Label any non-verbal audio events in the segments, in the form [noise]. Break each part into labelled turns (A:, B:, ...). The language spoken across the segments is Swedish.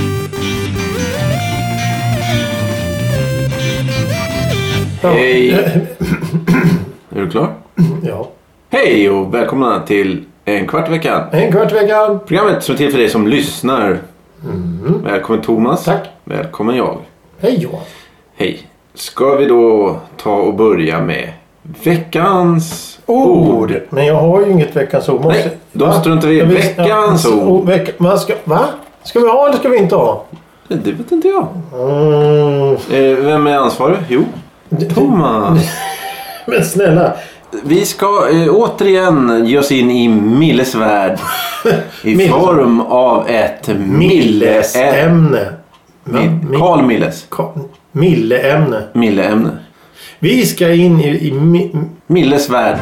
A: [laughs]
B: Hej! Är du klar?
A: Ja.
B: Hej och välkomna till en kvart i veckan.
A: En kvart i veckan.
B: Programmet som är till för dig som lyssnar. Välkommen Thomas.
A: Mhm. Tack.
B: Välkommen jag.
A: Hej Johan.
B: Hej. Ska vi då ta och börja med veckans ord?
A: Men jag har ju inget veckans ord. Måste...
B: Nej, då struntar vi i
A: Ja,
B: veckans
A: ja,
B: ord.
A: Veck... Man ska... Va? Ska vi ha eller ska vi inte ha?
B: Men det vet inte jag.
A: Mm. [laughs]
B: Eh, vem är ansvarig? Jo, Thomas.
A: Men snälla.
B: Vi ska eh, återigen ge oss in i Milles
A: [laughs]
B: värld. I
A: Milles-
B: form av ett Mille-ämne.
A: Milleämne. Va? Mi-
B: Karl Milles.
A: Ka- Milleämne.
B: Mille-ämne.
A: Vi ska in i... i mi...
B: Milles värld.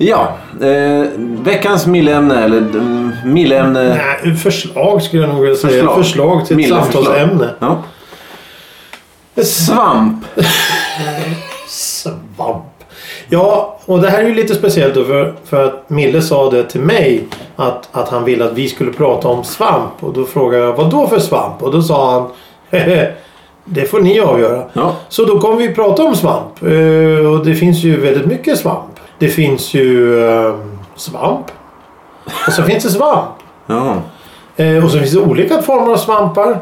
B: Ja, eh, veckans milleämne eller mm, milleämne...
A: Nej, förslag skulle jag nog vilja säga. Förslag, till ett
B: Mille förslag.
A: samtalsämne.
B: Ja. Svamp.
A: Svamp. Ja, och det här är ju lite speciellt då för, för att Mille sa det till mig att, att han ville att vi skulle prata om svamp. Och då frågade jag vad då för svamp? Och då sa han "Hehe, det får ni avgöra.
B: Ja.
A: Så då kommer vi prata om svamp. Eh, Och det finns ju väldigt mycket svamp. Det finns ju eh, svamp. Och så finns det svamp.
B: ja.
A: Eh, Och så finns det olika former av svampar.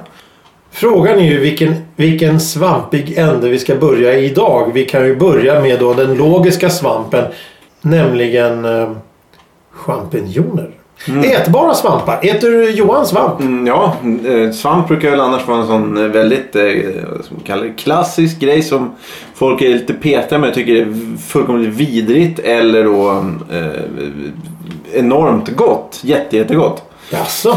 A: Frågan är ju vilken, vilken svampig ände vi ska börja i idag. Vi kan ju börja med då den logiska svampen. Nämligen eh, champinjoner. Ätbara svampar. Äter du Johan svamp?
B: Mm, ja, eh, svamp brukar väl annars vara en sån eh, väldigt eh, vad ska man kalla det, klassisk grej som folk är lite petiga med och tycker är fullkomligt vidrigt eller då eh, enormt gott. Jätte, jättegott.
A: Jaså?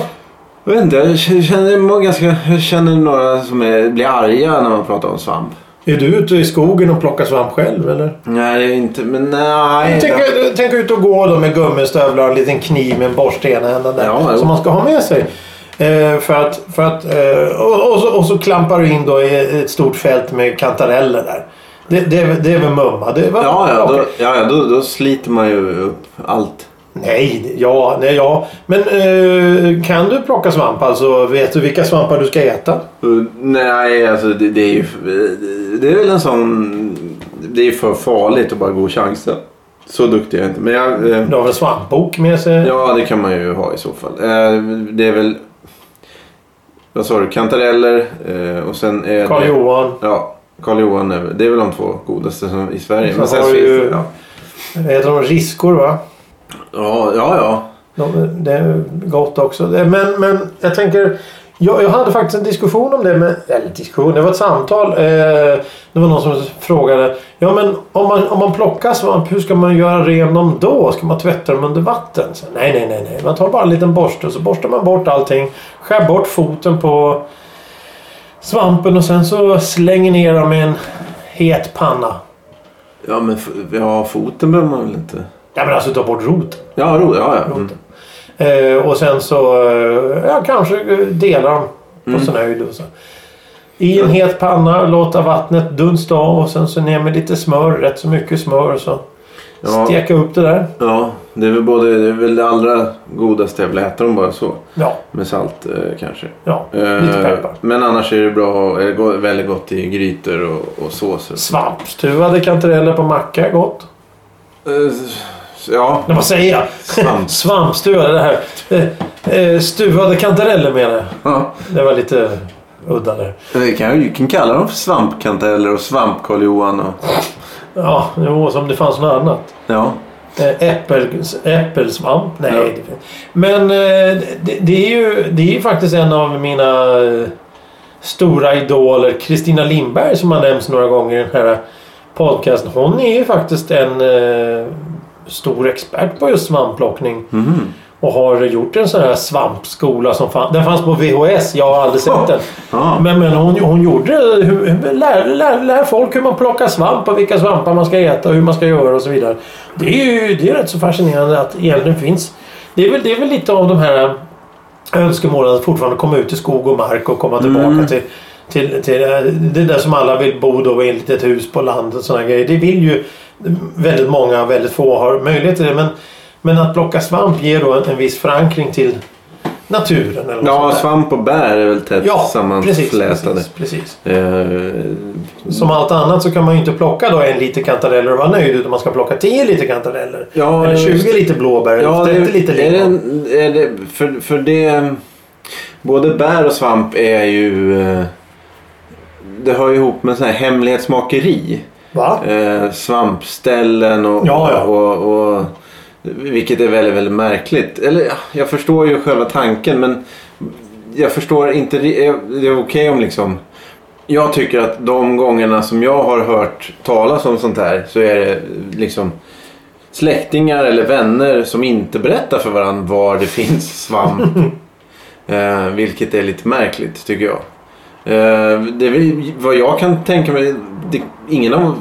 B: Jag vet inte, jag k- känner, må- ganska, jag känner några som är, blir arga när man pratar om svamp.
A: Är du ute i skogen och plockar svamp själv eller?
B: Nej, det är inte, men nej.
A: Tänk, tänk ut och gå då med gummistövlar och en liten kniv med en borste i ena handen där.
B: Ja, jo.
A: som man ska ha med sig. Eh, för att, för att, eh, och, och, så, och så klampar du in då i ett stort fält med kantareller där. Det, det, är väl- det är väl mumma? Det, va?
B: Ja, ja, då,
A: Okej.
B: ja ja, då, då sliter man ju upp allt.
A: Nej, det- ja, nej, ja. Men eh, kan du plocka svamp? Alltså, vet du vilka svampar du ska äta?
B: Uh, Nej, alltså det, det är ju... Det är väl en sån... Det är ju för farligt att bara gå och chansa. Så duktig är jag inte. Men jag... eh,
A: Du har väl svampbok med sig?
B: Ja, det kan man ju ha i så fall. Eh, Det är väl... Vad sa du? Kantareller eh, och sen... är det-
A: Karl Johan,
B: Ja, Karl Johan. är väl- Det är väl de två godaste som, i Sverige.
A: Så
B: Men sen
A: har
B: så finns
A: ju-
B: det- ja.
A: äter de riskor va?
B: ja, ja, ja.
A: De, det är gott också. Det- Men, men jag tänker... Jag, jag hade faktiskt en diskussion om det. Med, eller diskussion, det var ett samtal. Eh, det var någon som frågade. Ja men om man, om man plockar svamp, hur ska man göra ren dem då? Ska man tvätta dem under vatten? Så, nej, nej, nej, nej. Man tar bara en liten borste och så borstar man bort allting. Skär bort foten på svampen och sen så slänger ner dem i en het panna.
B: Ja, men f- ja, foten behöver man väl inte...
A: Ja men alltså ta bort roten.
B: Ja, ro, ja, ja. Mm.
A: Eh, och sen så eh, ja, kanske eh, dela dem på
B: Mm.
A: sån här höjd. och så. I en het panna, låta vattnet dunsta av och sen så ner med lite smör, rätt så mycket smör. och Så
B: Ja.
A: steka upp det där.
B: Ja, det är väl både... Det är väl det allra godaste jag vill äta dem bara så.
A: Ja,
B: Med salt eh, kanske.
A: ja
B: Eh,
A: lite peppar.
B: Men annars är det bra, eller gå- väldigt gott i grytor och, och såser.
A: Svampstuvade kantareller på macka är gott.
B: Eh, Ja,
A: Nej, vad säger jag? [laughs]
B: Svamp.
A: Svampstuvade, det här. Eh, eh, stuvade kantareller menar jag.
B: ja.
A: Det var lite udda där.
B: Vi kan, vi kan kalla dem för svampkanteller och svampkarl-Johan. Och,
A: Ja, jo, som det fanns något annat.
B: ja.
A: Eh, Äppel, äppelsvamp? Nej.
B: Ja.
A: det- Men eh, det, det, är ju, det är ju faktiskt en av mina eh, stora idoler, Kristina Lindberg, som har nämnts några gånger i den här podcasten. Hon är ju faktiskt en eh, stor expert på just svampplockning.
B: Mhm.
A: Och har gjort en sån här svampskola som fann, den fanns på VHS. Jag har aldrig sett den.
B: Ja.
A: Men, men hon, hon gjorde hur, hur- lär, lär, lär folk hur man plockar svamp och vilka svampar man ska äta och hur man ska göra och så vidare. Det är ju det är rätt så fascinerande att egentligen finns Det är väl, det är väl lite av de här önskemålen att fortfarande komma ut i skog och mark och komma tillbaka
B: Mm.
A: till, till, till eh, det där som alla vill bo då i ett litet hus på landet och sådana grejer. Det vill ju väldigt många, väldigt få har möjlighet till det. Men, men att plocka svamp ger då en, en viss förankring till naturen. Eller något
B: Ja,
A: sånt där.
B: svamp och bär är väl tätt
A: ja,
B: sammanflätade.
A: Precis, precis.
B: Eh,
A: Som allt annat så kan man ju inte plocka då en liter kantareller och vara nöjd utan man ska plocka 10 liter kantareller.
B: Ja,
A: eller 20
B: just det.
A: liter blåbär
B: Ja,
A: eller 30 liter
B: är det,
A: lingon.
B: en- är det, för, för det... mm, Både bär och svamp är ju... eh, Det hör ju ihop med sån här hemlighetsmakeri.
A: Va?
B: Eh, svampställen och,
A: Ja, ja.
B: och, och... Vilket är väldigt, väldigt märkligt. Eller ja, jag förstår ju själva tanken men jag förstår inte... ri- eh, Det är okej om liksom... Jag tycker att de gångerna som jag har hört talas om sånt här så är det liksom släktingar eller vänner som inte berättar för varandra var det finns
A: [laughs]
B: svamp. eh, vilket är lite märkligt tycker jag. Eh, det är väl vad jag kan tänka mig. Det, ingen av,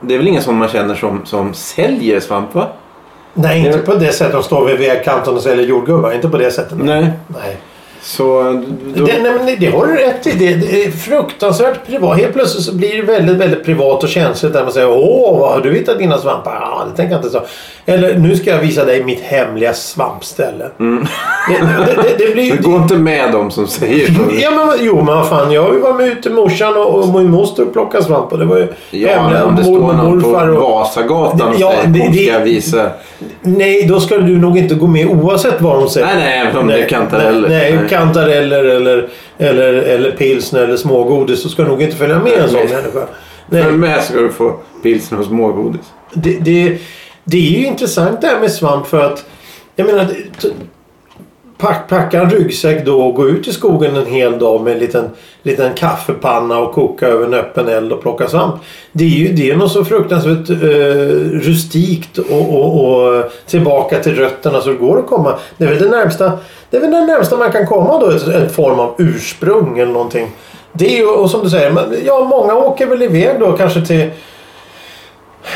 B: det är väl ingen som man känner som, som säljer svamp va?
A: Nej, inte
B: det-
A: på det sättet. De står vid vägkanten och säljer jordgubbar. Inte på det sättet.
B: Nej.
A: Nej.
B: Så... Då,
A: Det, nej, men det- det har du rätt i. Det, det är fruktansvärt privat. Helt plötsligt så blir det väldigt, väldigt privat och känsligt. Där man säger Åh, vad har du hittat dina svampar? Ja, det tänker jag inte så. Eller nu ska jag visa dig mitt hemliga svampställe. Det, det, det, det blir ju...
B: Mm. det går inte med dem som säger så.
A: Ja, men, vad- jo, men vad fan. Jag var med ute med morsan och, och min moster och plockade svamp. Och det var ju
B: Ja, men om det står någon på Vasagatan och
A: Ja,
B: säger
A: det-
B: "Kom, ska
A: det-
B: jag visa.
A: Nej, då skulle du nog inte gå med oavsett vad de säger.
B: Nej, nej, även om det är kantareller.
A: Nej, nej,
B: Nej.
A: kantareller eller, eller, eller pilsner eller smågodis så ska du nog inte följa med en sån
B: Nej.
A: människa. Nej,
B: Men med ska du få pilsner och smågodis.
A: det, det, det är ju intressant det här med svamp för att jag menar det- t- pack, packa en ryggsäck då och gå ut i skogen en hel dag med en liten, liten kaffepanna och koka över en öppen eld och plocka svamp. Det är ju det är något så fruktansvärt eh, rustikt och, och, och tillbaka till rötterna så det går att komma. Det är väl det närmsta, det är väl det närmsta man kan komma då, ett, en form av ursprung eller någonting. Det är ju, och som du säger, men, ja många åker väl iväg då kanske till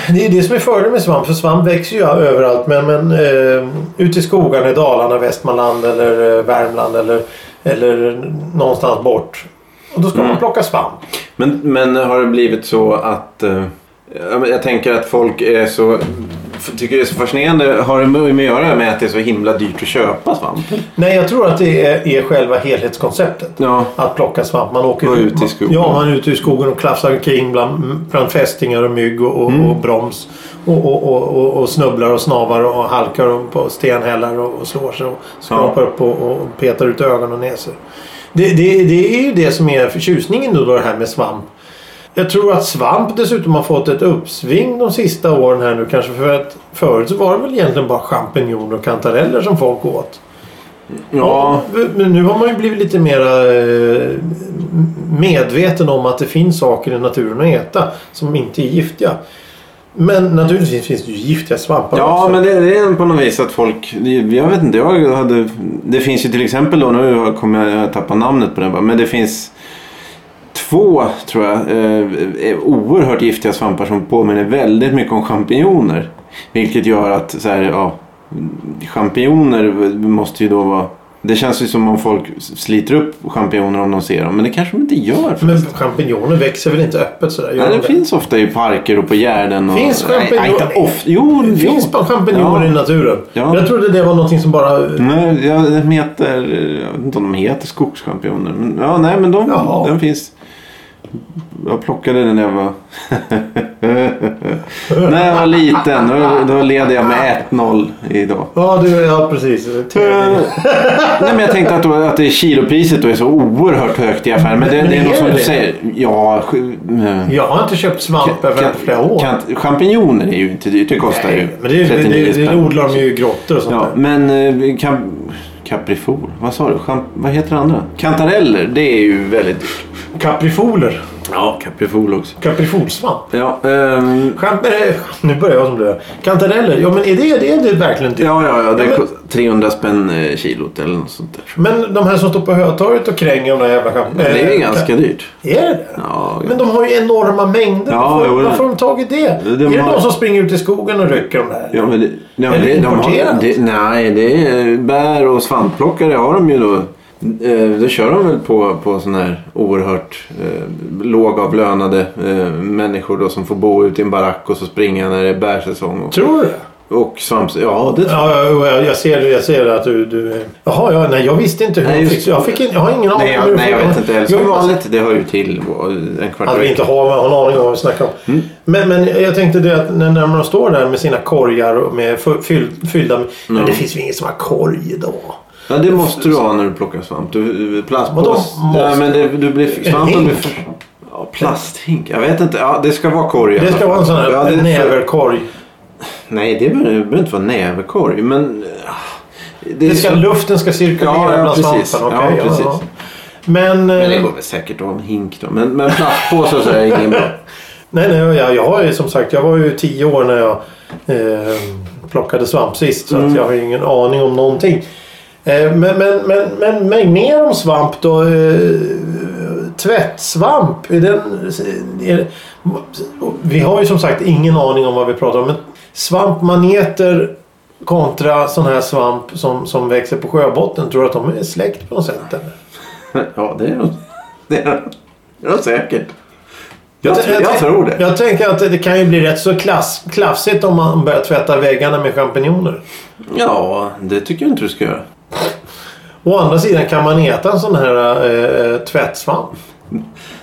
A: det är det som är fördelen med svamp. För svamp växer ju överallt. Men, men eh, ute i skogarna i Dalarna, Västmanland eller eh, Värmland eller, eller någonstans bort. Och då ska man plocka svamp.
B: Men, men har det blivit så att... eh, ja, men jag tänker att folk är så, f- tycker det är så fascinerande. Har det med med att göra med att det är så himla dyrt att köpa svamp?
A: Nej, jag tror att det är, är själva helhetskonceptet.
B: Ja.
A: Att plocka svamp. Man åker
B: Gå ut i skogen.
A: Ja, man är ute i skogen och klafsar kring bland, bland fästingar och mygg och, och, och broms. Och, och, och, och, och snubblar och snavar och halkar och på stenhällar och, och slår sig och skrapar upp och, och petar ut ögon och näsor. Det, det, det är ju det som är förtjusningen då, det här med svamp. Jag tror att svamp dessutom har fått ett uppsving de sista åren här nu kanske för att förut så var det väl egentligen bara champinjoner och kantareller som folk åt.
B: Ja.
A: Men nu har man ju blivit lite mer eh, medveten om att det finns saker i naturen att äta som inte är giftiga. Men naturligtvis finns det ju giftiga svampar
B: Ja,
A: också.
B: men det, det är på något vis att folk... Jag vet inte, jag hade... Det finns ju till exempel då, nu kommer jag tappa namnet på den, men det finns två, tror jag, eh, oerhört giftiga svampar som påminner väldigt mycket om champinjoner. Vilket gör att så här, ja, champinjoner måste ju då vara... Det känns ju som om folk sliter upp champinjoner om de ser dem, men det kanske de inte gör.
A: Men champinjoner växer väl inte öppet sådär? Gör
B: Nej,
A: de
B: det finns ofta i parker och på gärden. Och,
A: Finns
B: Nej, nej, inte
A: champinjoner-
B: ofta. Jo,
A: Det
B: jo.
A: finns bara champinjoner
B: Ja.
A: i naturen.
B: Ja. Mm.
A: Jag trodde det var någonting som bara...
B: Nej, jag, den heter... Jag vet inte om de heter skogschampioner. Men, ja, nej, men de,
A: Jaha.
B: den finns. Jag plockade den när jag var... [laughs] när jag var liten. Då, då ledde jag med 1-0 idag.
A: Ja, du, ja precis.
B: Eh, Nej, men jag tänkte att, då, att det är kilopriset då är så oerhört högt i affären. Men det,
A: Men
B: det är
A: är
B: något som
A: det
B: du
A: det?
B: säger. Ja, sju- eh,
A: Jag har inte köpt svamp över
B: kan-
A: flera år.
B: kan- Champinjoner är ju inte dyrt. Det kostar ju
A: Nej, men det, det, det, det odlar de ju i grottor och sånt
B: Ja,
A: där.
B: men eh, Cam- Caprifor, vad sa du? Champ- vad heter det andra? Kantareller, det är ju väldigt dyrt.
A: Kaprifoler.
B: Ja, kaprifol också.
A: Kaprifolsvamp.
B: Ja, ehm,
A: Champ- eh, Nu börjar jag som du gör. Kantareller. Ja, men är det, det är det verkligen typ- dyrt?
B: ja, ja, ja, det
A: Ja, men-
B: kostar 300 spänn eh, kilot eller något sånt där.
A: Men de här som står på Hötorget och kränger om de där jävla champ-
B: Men det är
A: eh,
B: ju ganska dyrt.
A: Är det det?
B: Ja,
A: Men de har ju enorma mängder.
B: Ja,
A: varför,
B: jo, det-
A: varför har de tagit det?
B: Det- de
A: är det
B: har-
A: de som springer ut i skogen och rycker de där?
B: Ja, men det, ja,
A: Är
B: men
A: det
B: det, de har,
A: importerat?
B: det, nej, det är eh, bär och svampplockare har de ju då. Eh, Det kör de väl på, på sån här oerhört eh, lågavlönade eh, människor då, som får bo ute i en barack och så springa när det är bärsäsong. Och,
A: Tror du det?
B: och svamps... Ja, det tror
A: Ja, ja, ja, jag ser det. Jag ser det att du... du... Jaha, ja, nej, jag visste inte hur
B: Nej,
A: de
B: just-
A: fick... Jag, fick in... jag har ingen aning
B: Nej,
A: om hur
B: jag,
A: de
B: nej, jag
A: fick-
B: vet inte heller.
A: Jag-
B: Som vanligt, det hör ju till en kvart
A: Hade vi inte har, har en aning om vad vi snackar om.
B: Mm.
A: Men, men jag tänkte det att när, när man står där med sina korgar och med fu- fyll, fyllda...
B: Mm.
A: Men det finns ju ingen som har korg idag.
B: Ja, det måste du ha när du plockar svamp. Du,
A: Vadå
B: plastpås...
A: måste?
B: Nej, men det, du blir...
A: En
B: Svampen blir...
A: hink?
B: Ja, plasthink. Jag vet inte. Ja, det ska vara korg. i
A: Det
B: alla
A: ska
B: fall.
A: vara en sån här
B: Ja, det-
A: näverkorg.
B: Nej, det behöver, det behöver inte vara näverkorg. Men... ah, Det, är
A: Det ska,
B: så-
A: luften ska cirkulera
B: Ja, ja,
A: bland
B: precis.
A: svampen.
B: Ja,
A: okej, ja,
B: precis.
A: ja.
B: Men
A: Men,
B: det
A: eh,
B: går väl säkert att ha en hink då. Men, men plastpåsar så är det ingen bra.
A: nej, nej, jag, jag har ju som sagt, jag var ju tio år när jag eh, plockade svamp sist. Så att jag har ju ingen aning om någonting. Eh, men, men, men, men, men mer om svamp då. Eh, tvättsvamp, är den... Är, det- vi har ju som sagt ingen aning om vad vi pratar om. Men svampmaneter kontra sån här svamp som, som växer på sjöbotten. Tror du att de är släkt på något sätt? Eller?
B: Ja, det är nog- det är det är nog säkert. Jag,
A: Jag,
B: tror- jag tror det.
A: Jag tänker att det kan ju bli rätt så klass, klaffsigt om man börjar tvätta väggarna med champinjoner.
B: Ja, det tycker jag inte du ska göra.
A: Å andra sidan kan man äta en sån här eh, tvättsvamp.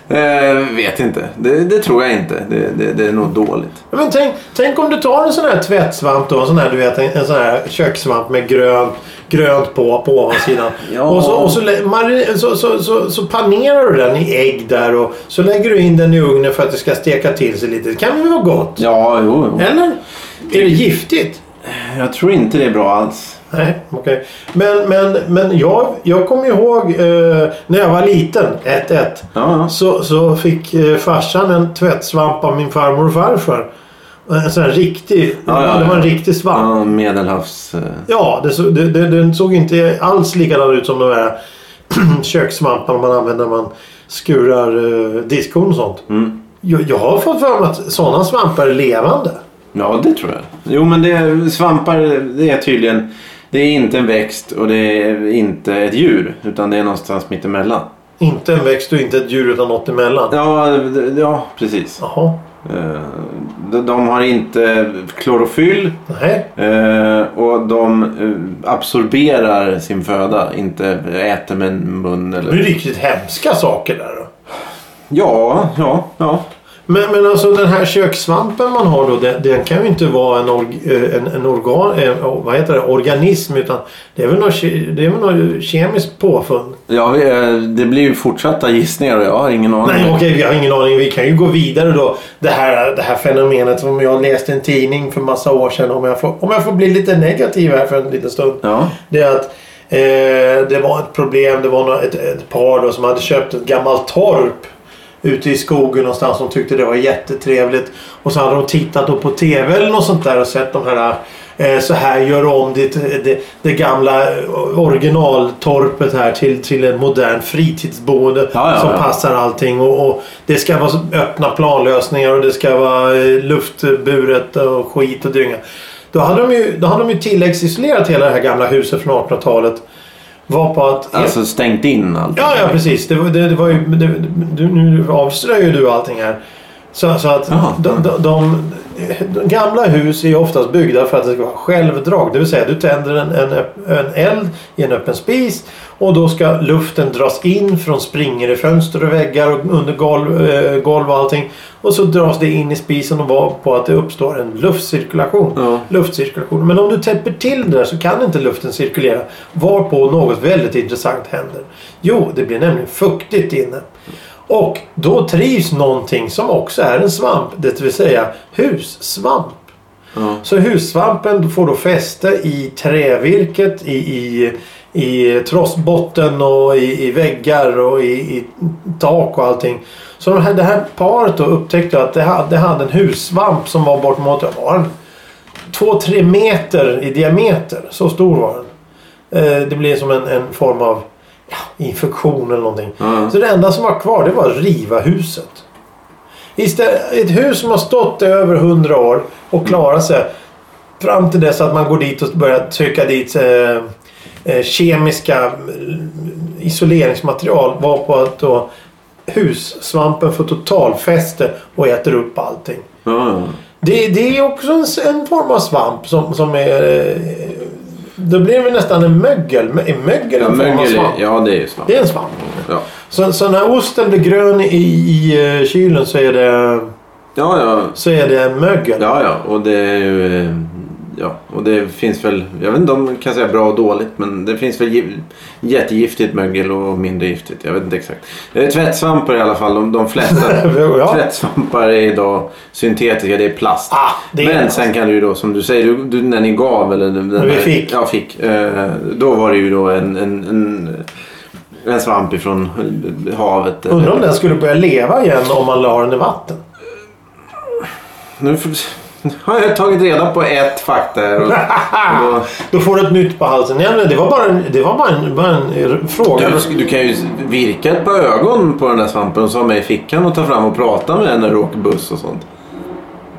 B: Eh, vet inte. Det, det tror jag inte. Det, det, det är nog dåligt.
A: Ja, Men tänk, tänk om du tar en sån här tvättsvamp då. En sån här, du vet, en, en sån här kökssvamp med grön, grönt på, på ovansidan.
B: [laughs] Ja.
A: Och, så, och så, lä- mari- så, så, så, så panerar du den i ägg där och så lägger du in den i ugnen för att det ska steka till sig lite. Det kan ju vara gott.
B: Ja, jo, jo.
A: Eller? Är det giftigt?
B: Jag tror inte det är bra alls.
A: Nej, okej. Men, men, men jag, jag kommer ihåg eh, när jag var liten, 1-1,
B: Ja,
A: så, så fick eh, farsan en tvättsvamp av min farmor och farfar. Eh, En sån här riktig,
B: Ja, ja,
A: det var en
B: ja.
A: riktig svamp.
B: ja medelhavs... eh,
A: Ja, det, så- det, det, den såg inte alls likadan ut som de här [clears throat] kökssvamparna man använder när man skurar eh, diskhon och sånt.
B: Mm.
A: Jag, jag har fått för mig att sådana svampar är levande.
B: Ja, det tror jag. Jo, men det, svampar det är tydligen... Det är inte en växt och det är inte ett djur. Utan det är någonstans mittemellan.
A: Inte en växt och inte ett djur utan något emellan.
B: Ja, det- ja precis.
A: Jaha,
B: Eh, de- De har inte klorofyll
A: nej.
B: eh, och de eh, absorberar sin föda. Inte äter med mun
A: Det är
B: eller...
A: ju riktigt hemska saker där då.
B: Ja, ja, ja.
A: Men, men alltså den här kökssvampen man har då, den, den kan ju inte vara en, org, eh, en, en organ, en, oh, vad heter det, organism utan det är väl något, ke- det är väl något kemiskt påfund.
B: Ja, vi, eh, det blir ju fortsatta gissningar och jag har ingen aning.
A: Nej okej, vi har ingen aning. Vi kan ju gå vidare då. Det här, det här fenomenet som jag läste i en tidning för massa år sedan. Om jag, får, om jag får bli lite negativ här för en liten stund.
B: Ja.
A: Det är att eh, det var ett problem. Det var nå- ett, ett par då som hade köpt ett gammalt torp ute i skogen någonstans. De tyckte det var jättetrevligt. Och så hade de tittat då på TV eller något sånt där och sett de här eh, så här gör om ditt, eh, det, det gamla eh, originaltorpet här till, till en modern fritidsboende
B: Ja, ja,
A: som
B: ja.
A: passar allting. Och, och det ska vara så- öppna planlösningar och det ska vara eh, luftburet och skit och dynga. Då hade de ju, då hade de ju tilläggsisolerat hela det här gamla huset från 1800-talet. Var på att...
B: Alltså stängt in allt.
A: Ja, ja precis. Det, var- det, det var ju, det, du, nu avslöjar ju du allting här. Så, så att
B: Jaha.
A: de, de, de, de gamla hus är ju oftast byggda för att det ska vara självdrag. Det vill säga du tänder en, en, öpp- en eld i en öppen spis och då ska luften dras in från springor i fönster och väggar och under golv, eh, golv och allting. Och så dras det in i spisen och var på att det uppstår en luftcirkulation.
B: Ja.
A: luftcirkulation. Men om du täpper till det där så kan inte luften cirkulera. Varpå något väldigt intressant händer. Jo, det blir nämligen fuktigt inne. Och då trivs någonting som också är en svamp. Det vill säga hussvamp.
B: Ja.
A: Så hussvampen får då fäste i trävirket, i, i, i trossbotten och i, i väggar och i, i tak och allting. Så de här, det här paret då upptäckte att det hade, det hade en hussvamp som var bortemot ja, var den två, tre meter i diameter. Så stor var den. Eh, Det blev som en, en form av ja, infektion eller någonting.
B: Ja.
A: Så det enda som var kvar det var att riva huset. Istället, ett hus som har stått i över 100 år och klarat sig. Fram till dess att man går dit och börjar trycka dit eh, eh, kemiska eh, isoleringsmaterial. Var på att då hussvampen får totalfäste och äter upp allting.
B: Ja.
A: Det, det är också en, s- en form av svamp som, som är... eh, Då blir det nästan en mögel. Är mögel
B: Ja,
A: en form av
B: mögel
A: svamp?
B: är, ja, det är ju svamp.
A: Det är en svamp.
B: Ja,
A: Så, så när osten blir grön i, i eh, kylen så är det,
B: ja, ja.
A: så är det mögel.
B: ja, ja. Och det är ju... eh, Ja, och det finns väl... Jag vet inte om man kan säga bra och dåligt, men det finns väl gi- jättegiftigt mögel och mindre giftigt. Jag vet inte exakt. Eh, Tvättsvampar i alla fall, de, de [laughs] flesta.
A: [laughs] Ja.
B: Tvättsvampar är idag syntetiska, det är plast.
A: Ah, det är
B: Men sen kan du ju då, som du säger, du, du, när ni gav eller... Den,
A: När vi fick.
B: Ja, fick. Eh, då var det ju då en, en, en, en svamp ifrån havet. eller-
A: Undrar om den skulle börja leva igen om man la den i vatten.
B: Nu f- [laughs] har jag tagit reda på ett fakta
A: [laughs]
B: här. Och, och då,
A: Då får du ett nytt på halsen. Nej, men det var bara en, det var bara en, bara en fråga.
B: du, du kan ju virka ett par ögon på den där svampen och så ha med i fickan och ta fram och prata med den när du åker buss och sånt.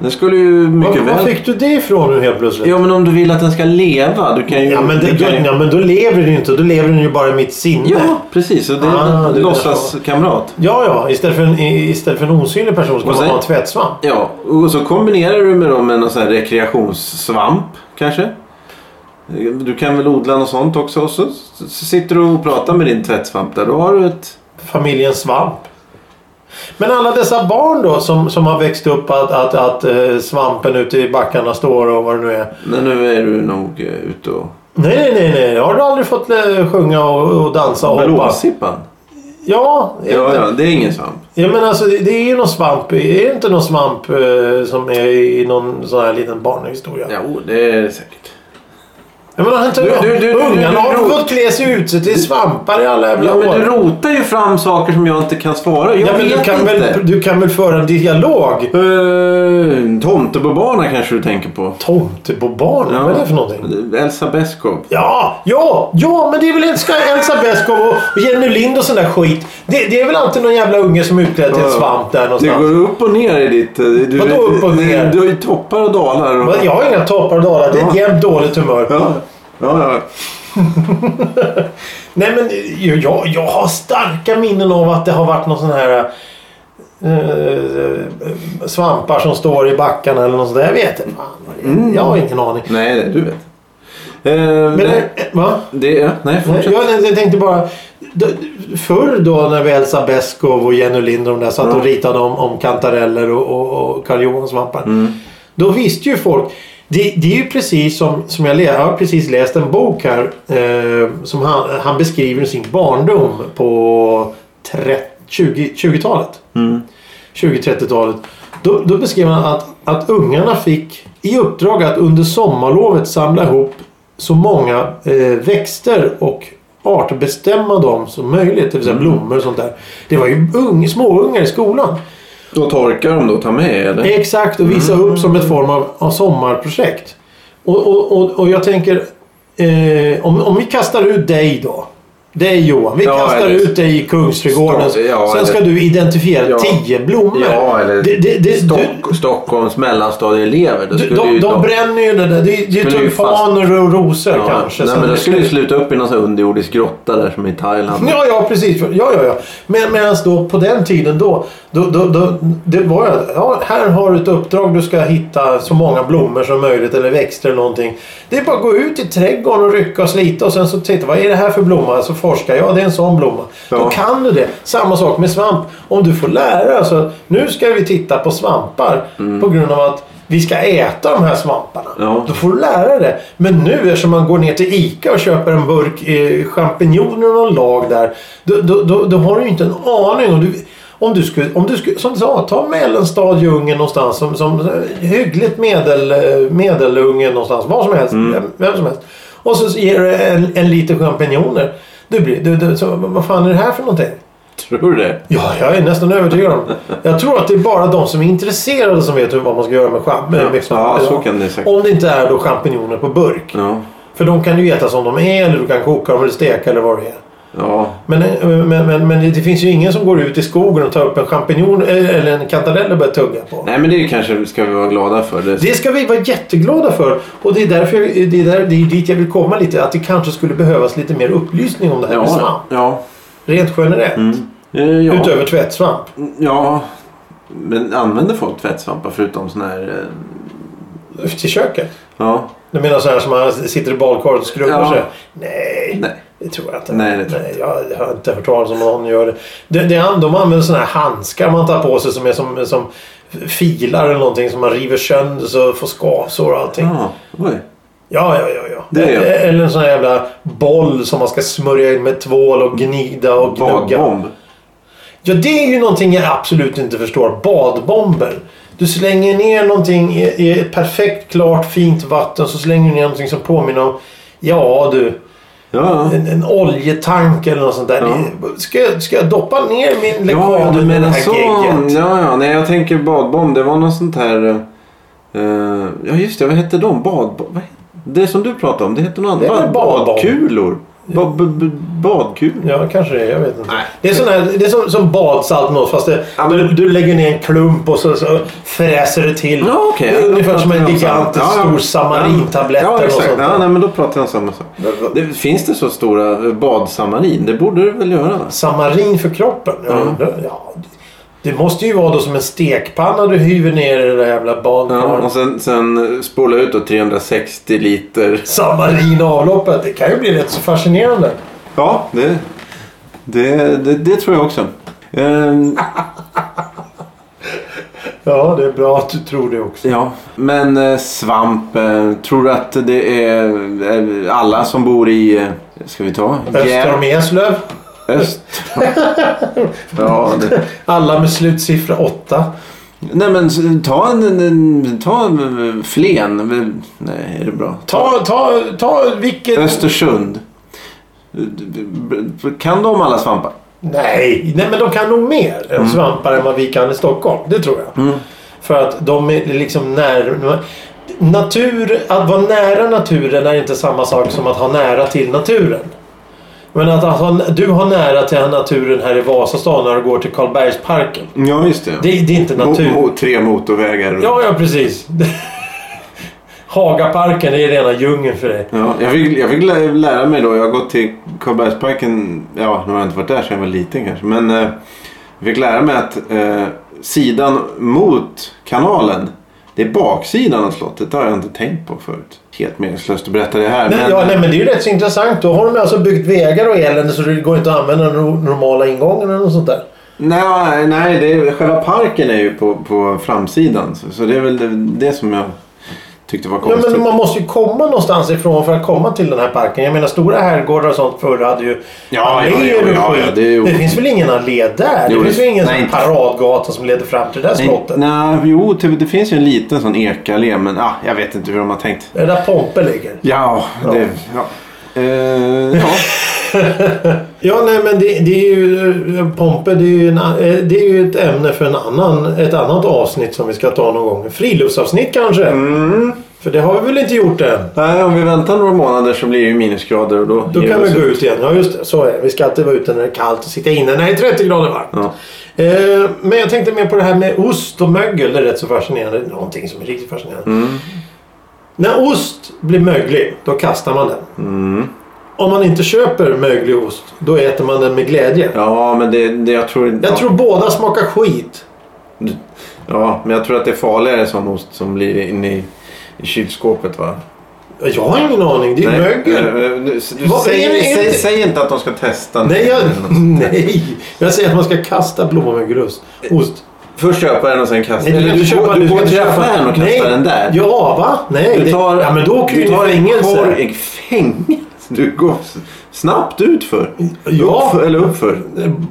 B: Det skulle ju
A: Var,
B: mycket
A: var
B: väl...
A: fick du det ifrån nu helt plötsligt?
B: Ja, men om du vill att den ska leva. Du kan ju...
A: Ja men, det,
B: du
A: då,
B: kan ju...
A: ja men då lever den ju inte. Då lever den ju bara i mitt sinne.
B: Ja, precis. Och det är
A: Ah,
B: en
A: det är
B: låtsaskamrat.
A: ja. ja. Istället, för en, i- istället för en osynlig person ska
B: Och
A: man
B: sen-
A: ha en tvättsvamp.
B: Ja, och så kombinerar du med dem med någon sån här rekreationssvamp kanske. Du kan väl odla något sånt också. Och så, så sitter du och pratar med din tvättsvamp där. Då har du ett...
A: familjen Svamp. Men alla dessa barn då som, som har växt upp att, att, att eh, svampen ute i backarna står och vad det nu är.
B: Men nu är du nog eh, ute och...
A: Nej, nej, nej, nej. Har du aldrig fått eh, sjunga och, och dansa och hoppa?
B: Blåsippan?
A: Ja, är
B: Ja,
A: det-
B: ja, det är ingen svamp.
A: ja, men alltså det, det är ju någon svamp. i- Är det inte någon svamp eh, som är i någon sån här liten barnhistoria?
B: Jo, det är det säkert.
A: Jag menar, inte,
B: Du-
A: du,
B: du- du- du- du-
A: ungarna har
B: du-
A: fått klä sig ut sig till svampar i alla jävla
B: Ja, men du
A: år.
B: rotar ju fram saker som jag inte kan svara. Jag
A: Ja, men du,
B: vet
A: kan
B: inte.
A: väl, du kan väl föra en dialog?
B: Eh, Tomtebobarna kanske du tänker på.
A: Tomte på barn? Vad är det för någonting?
B: Elsa Beskow.
A: Ja, ja, ja, men det är väl inte ska Elsa Beskow och och Jenny Lind och sån där skit. Det, det är väl alltid någon jävla unge som är utklädd till en svamp där
B: Det
A: någonstans.
B: går upp och ner i ditt... eh, Du,
A: Vadå upp och ner?
B: Du har ju toppar och dalar. Och...
A: Men Jag har inga toppar och dalar. Det är ett
B: Ja.
A: jämnt dåligt humör.
B: Ja, ja, ja.
A: Nej, men ju- jag, jag har starka minnen av att det har varit någon sån här... eh, svampar som står i backarna eller något sånt där. Jag vet inte. Fan, vad det är.
B: Mm.
A: Jag har ingen aning.
B: Nej, det, du vet. Eh,
A: Men,
B: nej,
A: eh, va?
B: det, ja, nej,
A: Nej,
B: fortsätt.
A: Jag, jag tänkte bara... d- Förr då när vi Elsa Beskow och Jenny Lind och de där satt
B: Ja.
A: och ritade om, om kantareller och, och, och Karl Johans svampar.
B: Mm.
A: Då visste ju folk. Det, det är ju precis som, som jag, lä- jag har precis läst en bok här. Eh, som han, han beskriver sin barndom på tre- 20 20-talet.
B: Mm.
A: 20-30-talet. Då, då beskrev han att, att ungarna fick i uppdrag att under sommarlovet samla ihop så många eh, växter och artbestämma dem som möjligt. Det vill säga
B: Mm.
A: blommor och sånt där. Det var ju ung, småungar i skolan.
B: Då torkar de då, ta med eller?
A: Exakt, och visa upp som
B: Mm.
A: ett form av, av sommarprojekt. Och, och, och, och jag tänker, eh, om, om vi kastar ut dig då. Dig Johan, vi
B: Ja,
A: kastar
B: eller-
A: ut dig i Kungsträdgården.
B: Stock- ja,
A: sen ska
B: eller-
A: du identifiera
B: Ja.
A: tio blommor.
B: Ja, eller
A: det, det, det,
B: Stock, Stockholms mellanstadieelever. Då
A: du,
B: skulle
A: de,
B: ju
A: de bränner ju det där. Det är det är
B: Skulle ju fast-
A: tulpaner och rosor
B: ja,
A: kanske.
B: Nej,
A: som-
B: men då skulle ju sluta upp i någon sån här underjordisk grotta där som i Thailand.
A: Ja, ja, precis. Ja, ja, ja. Men medan då på den tiden då, då, då, då det var ju att, ja, här har du ett uppdrag. Du ska hitta så många blommor som möjligt eller växter eller någonting. Det är bara att gå ut i trädgården och rycka och slita och sen så titta, vad är det här för blomma? Så forskar jag, det är en sån blomma.
B: Ja.
A: Då kan du det. Samma sak med svamp. Om du får lära dig, så nu ska vi titta på svampar
B: Mm.
A: på grund av att vi ska äta de här svamparna.
B: Ja.
A: Då får du lära dig det. Men nu eftersom man går ner till ICA och köper en burk eh, champinjoner och någon lag där. Då, då, då, då har du ju inte en aning. Och du, Om du skulle, om du skulle som du sa, ta mellanstad, djungeln någonstans. Som, som eh, hyggligt medel, eh, medelungen någonstans. Var som helst.
B: Mm.
A: Vem, vem som helst. Och så ger du en, en liter champinjoner. Du blir, du, du, så, vad fan är det här för någonting?
B: Tror du det?
A: Ja, jag är nästan övertygad om Jag tror att det är bara de som är intresserade som vet hur, vad man ska göra med champinjoner.
B: Ja, så kan det säkert.
A: Om det inte är då champinjoner på burk.
B: Ja.
A: För de kan ju äta som de är eller du kan koka dem eller steka eller vad det är.
B: Ja.
A: Men, eh, men, men, men det finns ju ingen som går ut i skogen och tar upp en champinjon eh, eller en kantarell och börjar tugga på.
B: Nej men det kanske ska vi vara glada för. Det...
A: Det ska vi vara jätteglada för. Och det är därför jag, det är där, det är dit jag vill komma lite. Att det kanske skulle behövas lite mer upplysning om det här med svamp.
B: ja. ja.
A: Rent generellt.
B: Eh, ja.
A: Utöver tvättsvamp.
B: ja. Men använder folk tvättsvampar förutom sån här... eh,
A: Till köket.
B: Ja.
A: Du menar så här som man sitter i badkaret och skrubbar
B: Ja.
A: sig? Nej.
B: Nej.
A: Det tror jag inte.
B: Nej, det tror jag
A: jag har inte hört talas om någon gör det. det, det an- de använder sådana här handskar man tar på sig som är som, som filar eller någonting som man river sönder så får skavsår och allting.
B: Ja. Oj.
A: Ja, ja, ja. ja.
B: Det gör jag.
A: eller en sån här jävla boll som man ska smörja in med tvål och gnida och gnugga.
B: Badbomb.
A: Ja, det är ju någonting jag absolut inte förstår. Badbomber. Du slänger ner någonting i, i ett perfekt, klart, fint vatten så slänger du ner någonting som påminner om Ja du,
B: Ja.
A: en, en oljetank eller något sånt där.
B: Ja.
A: Det- Ska, jag- ska jag doppa ner min lekan
B: Ja, du
A: i det
B: menar
A: här
B: så.
A: gegget?
B: Ja, ja. Nej, jag tänker badbomb. Det var något sånt här... eh, ja, just det. Vad hette de? Bad, vad, hette- det som du pratade om. Det hette något annat.
A: Det är väl badbomb.
B: badkulor. Ba, b, b, badkulor.
A: Ja, kanske det. är. Jag vet inte.
B: Nej.
A: Det är, sån här, det är som, som badsalt något fast det,
B: Ja, men-
A: du, du lägger ner en klump och så, så fräser det till.
B: Ja, okej.
A: Det är Ungefär som en
B: Ja,
A: gigantisk
B: ja.
A: stor samarintablett
B: Ja,
A: eller något
B: exakt.
A: sånt.
B: Ja,
A: där.
B: nej, men då pratar jag om samma sak. Det, finns det så stora eh, badsamarin? Det borde det väl göra? va?
A: Samarin för kroppen? Ja,
B: Mm.
A: det, ja, det måste ju vara då som en stekpanna du hyver ner i det där jävla
B: Ja, och
A: badkaret.
B: sen, sen spola ut då 360 liter.
A: Samarin avloppet. Det kan ju bli rätt så fascinerande.
B: Ja, det, det, det, det tror jag också. Ehm,
A: Ja, det är bra att du tror det också.
B: Ja, men eh, svamp. eh, Tror du att det är eh, alla som bor i... eh, Ska vi ta?
A: Öster om
B: Gävle-
A: Eslöv.
B: Öst. Ja, det.
A: Alla med slutsiffra 8.
B: Nej men s- ta en, en, en ta en eh, Flen. Eh, Nej, är det bra?
A: Ta, ta, ta vilket...
B: Östersund. Eh, Kan de alla svampar?
A: Nej, nej, men de kan nog mer än svampar än vad vi kan i Stockholm. Det tror jag. För att de är liksom när... Natur, att vara nära naturen är inte samma sak som att ha nära till naturen. Men att, att ha, du har nära till naturen här i Vasastan när du går till Karlbergsparken.
B: Ja, just det.
A: Det, det är inte natur.
B: Mo- mo- tre motorvägar.
A: Ja, ja precis. [laughs] Hagaparken det är rena djungeln för dig.
B: Ja, jag, fick, jag fick lä- lära mig då. Jag har gått till Karlbergsparken. Ja, nu har jag inte varit där sedan jag var liten kanske. Men eh, jag fick lära mig att eh, sidan mot kanalen. Det är baksidan av slottet. Det har jag inte tänkt på förut. Helt meningslöst att berätta det här.
A: Nej,
B: men,
A: ja, nej, men det är ju rätt så intressant. Då har de alltså byggt vägar och elände så det går inte att använda den no- normala ingången eller något sånt där.
B: nej, nej det är, själva parken är ju på, på framsidan. Så, så det är väl det, det som jag tyckte var
A: Ja,
B: konstigt.
A: men man måste ju komma någonstans ifrån för att komma till den här parken. Jag menar stora herrgårdar och sånt förr hade ju
B: Ja, ja, ja,
A: och
B: ja,
A: skit.
B: ja, det är ju-
A: det finns väl ingen allé där?
B: Jo,
A: det finns
B: det-
A: väl ingen
B: nej,
A: sån
B: inte-
A: paradgata som leder fram till det där
B: Nej,
A: slottet?
B: nej, jo, typ, det finns ju en liten sån ekallé. Men ah, jag vet inte hur de har tänkt.
A: Det är där Pompe ligger.
B: Ja, det... Ja. Eh, ja.
A: Ja, nej, men det, det är ju... Pompe, det är ju, en, eh, det är ju ett ämne för en annan, ett annat avsnitt som vi ska ta någon gång. Friluftsavsnitt kanske?
B: Mm.
A: För det har vi väl inte gjort än?
B: Nej, om vi väntar några månader så blir det ju minusgrader och då...
A: Då
B: ger
A: kan vi
B: oss
A: gå ut igen. Ja, just det. Så är det. Vi ska alltid vara ute när det är kallt och sitta inne när det är 30 grader varmt.
B: Ja.
A: Eh, men jag tänkte mer på det här med ost och mögel. Det är rätt så fascinerande. Det är Någonting som är riktigt fascinerande.
B: Mm.
A: När ost blir möglig, då kastar man den.
B: Mm.
A: Om man inte köper möglig ost, då äter man den med glädje.
B: Ja, men det, det jag tror...
A: Jag tror båda smakar skit.
B: Ja, men jag tror att det är farligare sån ost som blir inne i, i kylskåpet va?
A: Jag har ingen aning. Det är
B: Nej,
A: mögel.
B: eh, eh, nu- s- du
A: Vad
B: säg,
A: är det- är
B: säg,
A: det-
B: säg inte att de ska testa.
A: Nej, jag, [laughs] nej, jag säger att man ska kasta blommamögelost. Ost.
B: Först köpa den och sen kasta
A: Nej,
B: den.
A: Alltså, du,
B: Eller
A: kan inte
B: går- du går
A: köpa, du ska
B: till
A: inte köpa-
B: affären och kastar
A: Nej.
B: den där.
A: Ja, va? Nej.
B: Du
A: det-
B: tar,
A: ja, men då åker
B: du
A: du
B: tar
A: i
B: en
A: fängelse.
B: korg i fängelse. Du går s- snabbt ut för.
A: Ja,
B: Uppför, eller uppför.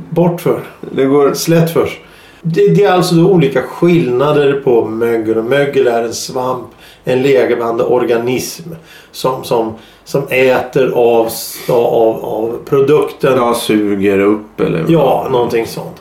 A: bortför.
B: Det går...
A: Slätt först. Det, det är alltså då olika skillnader på mögel. Och mögel är en svamp, en levande organism som, som, som äter av, s- av, av produkten. Ja,
B: Ja, suger upp eller...
A: någonting sånt.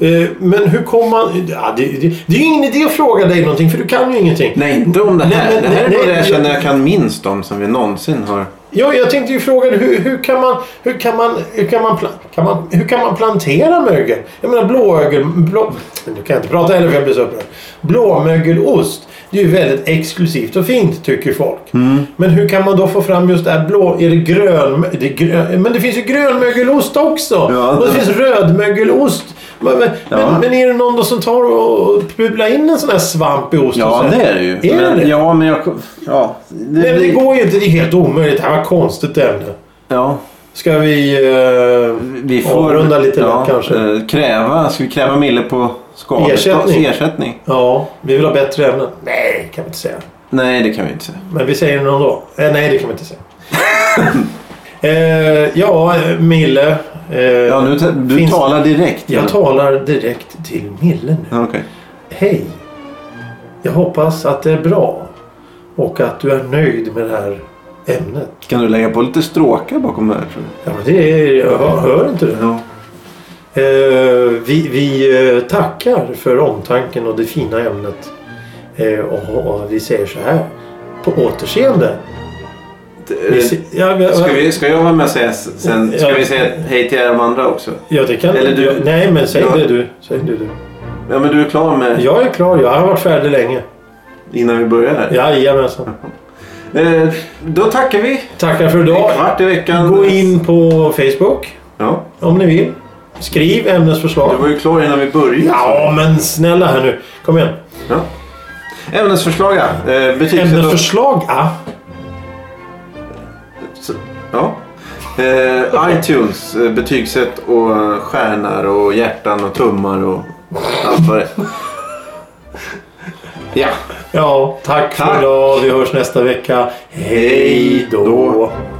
A: Eh, Men hur kommer man... Ja, det, det, det är ju ingen idé att fråga dig någonting för du kan ju ingenting.
B: Nej, inte om det här.
A: Nej, men-
B: det här är
A: nej,
B: bara det jag
A: nej,
B: känner
A: jag-
B: jag kan minst om som vi någonsin har.
A: Ja, jag tänkte ju fråga dig, hur, hur, kan man, hur, kan man, hur, kan man, pla- kan man, hur kan man plantera mögel? Jag menar blåögel... Blå, nu kan jag inte prata heller för jag blir så upprörd. Blåmögelost. Det är ju väldigt exklusivt och fint tycker folk.
B: Mm.
A: Men hur kan man då få fram just det här blå... Är det grön... Det är grön men det finns ju grönmögelost också!
B: Ja.
A: och det finns rödmögelost. Men, men,
B: Ja.
A: men, men är det någon då som tar och pular in en sån här svamp i osten?
B: Ja,
A: och så här?
B: det är det ju.
A: Är
B: men,
A: det det?
B: Ja, men jag... Ja. Det,
A: Nej, men det går ju inte. Det är helt omöjligt. Det här var konstigt ämne.
B: Ja.
A: Ska vi... eh,
B: Vi får...
A: Avrunda lite lätt kanske.
B: eh, Kräva... Ska vi kräva Mille på skadestånd?
A: Ersättning.
B: Ersättning?
A: ja, vi vill ha bättre ämnen. Nej, kan vi inte säga.
B: Nej, det kan vi inte säga.
A: Men vi säger det någon dag. Eh, nej, det kan
B: [laughs]
A: vi inte säga. eh, ja, eh, Mille. Eh,
B: Ja, nu, ta- du
A: finns-
B: talar direkt.
A: Jag
B: eller?
A: talar direkt till Mille nu.
B: Ja, okej.
A: Hej! Jag hoppas att det är bra. Och att du är nöjd med det här ämnet.
B: Kan du lägga på lite stråkar bakom det här? Tror du?
A: Ja, men det är, jag hör, hör inte det.
B: Ja.
A: Eh, vi vi eh, tackar för omtanken och det fina ämnet. Eh, och, och vi säger så här. På återseende. Vi se, ja, vi-
B: Eh, Ska, vi, ska jag vara med och säga s- sen? Ska
A: Ja.
B: vi säga hej till er de andra också?
A: ja, det kan
B: eller du-
A: Nej, men säg
B: Ja.
A: det du. Säg det du.
B: Ja, men du är klar med
A: Jag är klar. Jag har varit färdig länge.
B: innan vi börjar här.
A: Jajamensan.
B: Eh, då tackar vi.
A: Tackar för
B: En
A: idag.
B: kvart i veckan.
A: Gå in på Facebook
B: Ja,
A: om ni vill. Skriv
B: du var
A: ämnesförslag.
B: ju klar innan vi började.
A: Ja, men snälla här nu. Kom igen.
B: Ja. Ämnesförslag ja. Eh, betygsätt oss-
A: Ämnesförslag? Ah.
B: Så- Ja. Eh, iTunes, eh, betygsätt och eh, stjärnor och hjärtan och tummar och allt vad det är. Ja.
A: Ja, tack för
B: Tack.
A: idag. Vi hörs nästa vecka. Hej då.
B: Hej då.